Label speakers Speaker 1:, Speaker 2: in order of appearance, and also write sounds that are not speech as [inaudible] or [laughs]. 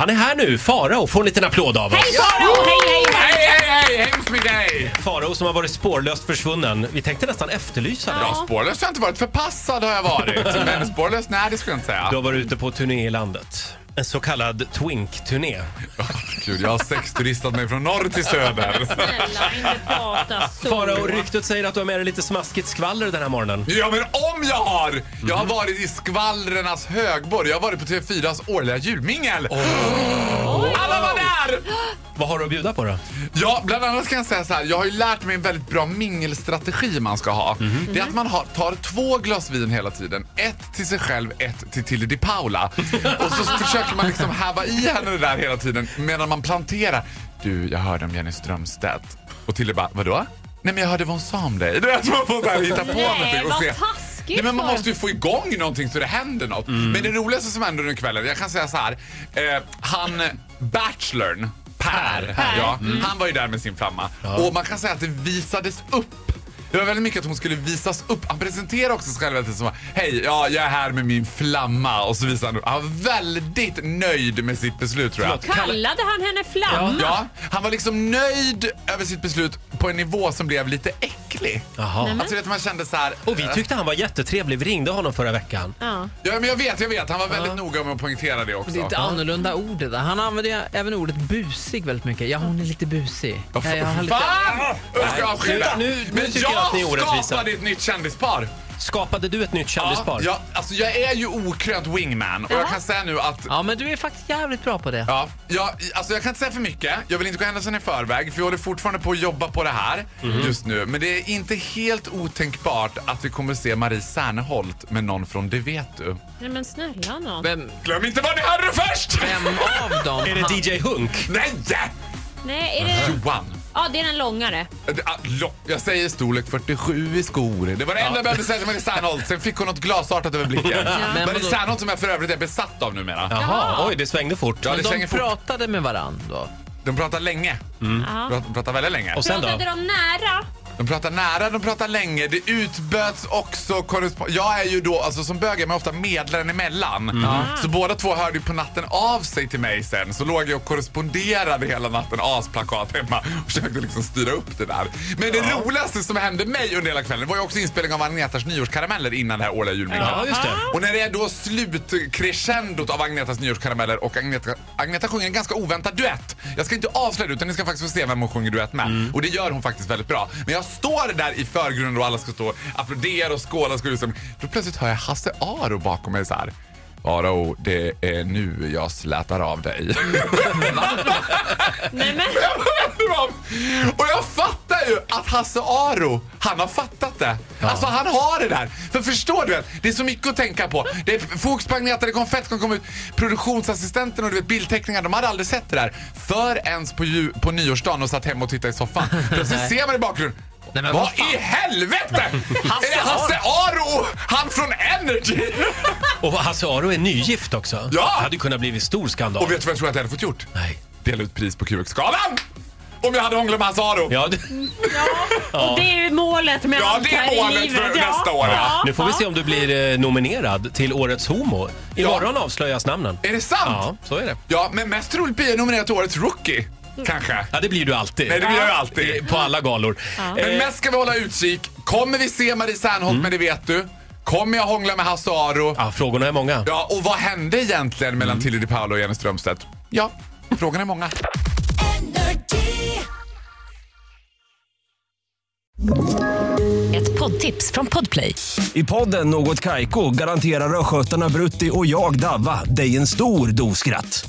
Speaker 1: Han är här nu, Farao, får en liten applåd av oss.
Speaker 2: Hej Farao! Hej, hej, hej!
Speaker 3: Hej, hej, hej! Hemskt med dig!
Speaker 1: Farao som har varit spårlöst försvunnen. Vi tänkte nästan efterlysa dig.
Speaker 3: Ja, spårlös har jag inte varit. Förpassad har jag varit. Men spårlös, nej det skulle jag inte säga.
Speaker 1: Du har varit ute på turné i landet. En så kallad twink-turné.
Speaker 3: Gud, jag har sexturistat mig från norr till söder.
Speaker 2: Snälla, inte prata så.
Speaker 1: Farao, ryktet säger att du har med dig lite smaskigt skvaller den här morgonen.
Speaker 3: Ja, men om jag har! Jag har varit i skvallrenas högborg. Jag har varit på TV4s årliga julmingel. Alla var där!
Speaker 1: Vad har du att bjuda på då?
Speaker 3: Ja, bland annat kan jag säga så här. Jag har ju lärt mig en väldigt bra mingelstrategi man ska ha. Det är att man har, tar två glas vin hela tiden. Ett till sig själv, ett till Tilly Di Paula. Och så försöker man liksom häva i henne det där hela tiden medan man planterar. Du, jag hörde om Jenny Strömstedt. Och Tilly bara, vadå? Nej men jag hörde vad hon sa om dig. Det är att man får så här hitta på
Speaker 2: Nej,
Speaker 3: någonting och
Speaker 2: vad
Speaker 3: se.
Speaker 2: taskigt
Speaker 3: Nej, men man
Speaker 2: var det.
Speaker 3: måste ju få igång någonting så det händer något. Men det roligaste som hände under kvällen, jag kan säga så här. Eh, han, Bachelorn, Per, Mm. Ja, han var ju där med sin flamma. Och man kan säga att det visades upp. Det var väldigt mycket att hon skulle visas upp. Han presenterade också sig själv hela tiden som Hej, ja, jag är här med min flamma. Och så visade han upp. Han var väldigt nöjd med sitt beslut tror jag.
Speaker 2: Kallade han henne flamma?
Speaker 3: Ja, han var liksom nöjd över sitt beslut på en nivå som blev lite äcklig.
Speaker 1: Jaha.
Speaker 3: Alltså, du vet, man kände så här,
Speaker 1: Och vi tyckte han var jättetrevlig. Vi ringde honom förra veckan.
Speaker 2: Ja.
Speaker 3: Ja, men jag vet, jag vet. Han var väldigt noga med att poängtera det också.
Speaker 4: Det är ett annorlunda ord det där. Han använder ju även ordet busig väldigt mycket. Ja, hon är lite busig. Ja, jag har lite...
Speaker 3: Fan! Jag ska avskeda.
Speaker 1: sluta, nu- nu
Speaker 3: Men
Speaker 1: tycker jag att ni är orättvisa.
Speaker 3: skapade ett nytt kändispar.
Speaker 1: Skapade du ett nytt
Speaker 3: Ja,
Speaker 1: kändispar?
Speaker 3: ja, alltså jag är ju okrönt wingman och jag kan säga nu att
Speaker 4: Ja, men du är faktiskt jävligt bra på det.
Speaker 3: Ja, ja, alltså jag kan inte säga för mycket. Jag vill inte gå händelserna i förväg för vi håller fortfarande på att jobba på det här
Speaker 1: Mhm.
Speaker 3: just nu. Men det är inte helt otänkbart att vi kommer se Marie Serneholt med någon från Det vet du.
Speaker 2: Nej men snälla nån.
Speaker 4: Vem,
Speaker 3: Glöm inte vad ni hörde först!
Speaker 4: vem av [laughs] dem?
Speaker 1: Är det DJ Hunk?
Speaker 3: Nej!
Speaker 2: Nej, är det...
Speaker 3: Johan.
Speaker 2: Ja, det är den långare.
Speaker 3: Det- ah, lo- Jag säger storlek 47 i skor. Det var det enda jag behövde säga till Marie Serneholt. Sen fick hon något glasartat över blicken. Marie
Speaker 4: Men vadå?
Speaker 3: Serneholt som jag för övrigt är besatt av numera.
Speaker 1: Jaha, oj det svängde fort.
Speaker 3: Ja, det
Speaker 4: Men
Speaker 3: svänger
Speaker 4: de
Speaker 3: fort.
Speaker 4: pratade med varann då?
Speaker 3: De pratar länge.
Speaker 2: Ja.
Speaker 3: De pratar väldigt länge.
Speaker 1: Och sen då?
Speaker 2: Pratade de nära?
Speaker 3: De pratar nära, de pratar länge. Det utböts också korrespondens. Jag är ju då, alltså som bög är man ofta medlaren emellan. Mm. Så båda två hörde ju på natten av sig till mig sen. Så låg jag och korresponderade hela natten, asplakat hemma och försökte liksom styra upp det där. Men det roligaste som hände mig under hela kvällen var ju också inspelningen av Agnetas nyårskarameller innan det här årliga julminglet.
Speaker 1: Ja, just det.
Speaker 3: Och när det är då slutcrescendot av Agnetas nyårskarameller och Agneta, Agneta sjunger en ganska oväntad duett. Jag ska inte avslöja det utan ni ska faktiskt få se vem hon sjunger duett med. Och det gör hon faktiskt väldigt bra. Men jag står där i förgrunden och alla ska stå och applådera och skåla. Och ska liksom, då plötsligt hör jag Hasse Aro bakom mig så här. Aro, det är nu jag slätar av dig. [laughs]
Speaker 2: Nej men,
Speaker 3: Jag vänder mig om. Och jag fattar ju att Hasse Aro, han har fattat det. Alltså han har det där. För förstår du? Det är så mycket att tänka på. Det är fokus på Agneta, det kom fett, kom ut. Produktionsassistenten och du vet bildteckningar, de hade aldrig sett det där. Förrän på, ju, på nyårsdagen och satt hemma och tittade i soffan. Plötsligt ser man i bakgrunden.
Speaker 4: Nej, men
Speaker 3: vad
Speaker 4: vad fan?
Speaker 3: i helvete! är det Hasse Aro? Han från Energy! [laughs]
Speaker 1: Och Hasse Aro är nygift också.
Speaker 3: Ja!
Speaker 1: Det hade ju kunnat blivit stor skandal.
Speaker 3: och vet du vad jag tror att jag hade fått gjort?
Speaker 1: Nej.
Speaker 3: Dela ut pris på QX-galan! Om jag hade hånglat med Hasse Aro.
Speaker 1: Ja, du...
Speaker 2: och det är ju målet med
Speaker 3: Ja,
Speaker 2: allt
Speaker 3: det är
Speaker 2: här i
Speaker 3: målet
Speaker 2: livet.
Speaker 3: för nästa år, ja.
Speaker 1: Nu får vi se om du blir eh, nominerad till Årets Homo. Imorgon avslöjas namnen.
Speaker 3: Är det sant?
Speaker 1: Ja, så är det.
Speaker 3: Ja, men mest troligt blir jag nominerad till årets rookie. Kanske.
Speaker 1: Ja, det blir du alltid.
Speaker 3: Nej, det blir jag ju
Speaker 1: Eh,
Speaker 3: alltid.
Speaker 1: På alla galor.
Speaker 3: Men
Speaker 1: Eh,
Speaker 3: mest ska vi hålla utkik. Kommer vi se Marie Serneholt med Det vet du? Kommer jag hångla med Hasse Aro? Ja.
Speaker 1: ja, frågorna är många.
Speaker 3: och vad hände egentligen mellan Tilly Di Paolo och Jenny Strömstedt? Ja, frågan är många.
Speaker 5: Ett poddtips från Podplay.
Speaker 6: I podden Något Kaiko garanterar östgötarna Brutti och jag, Davva, dig en stor dos skratt.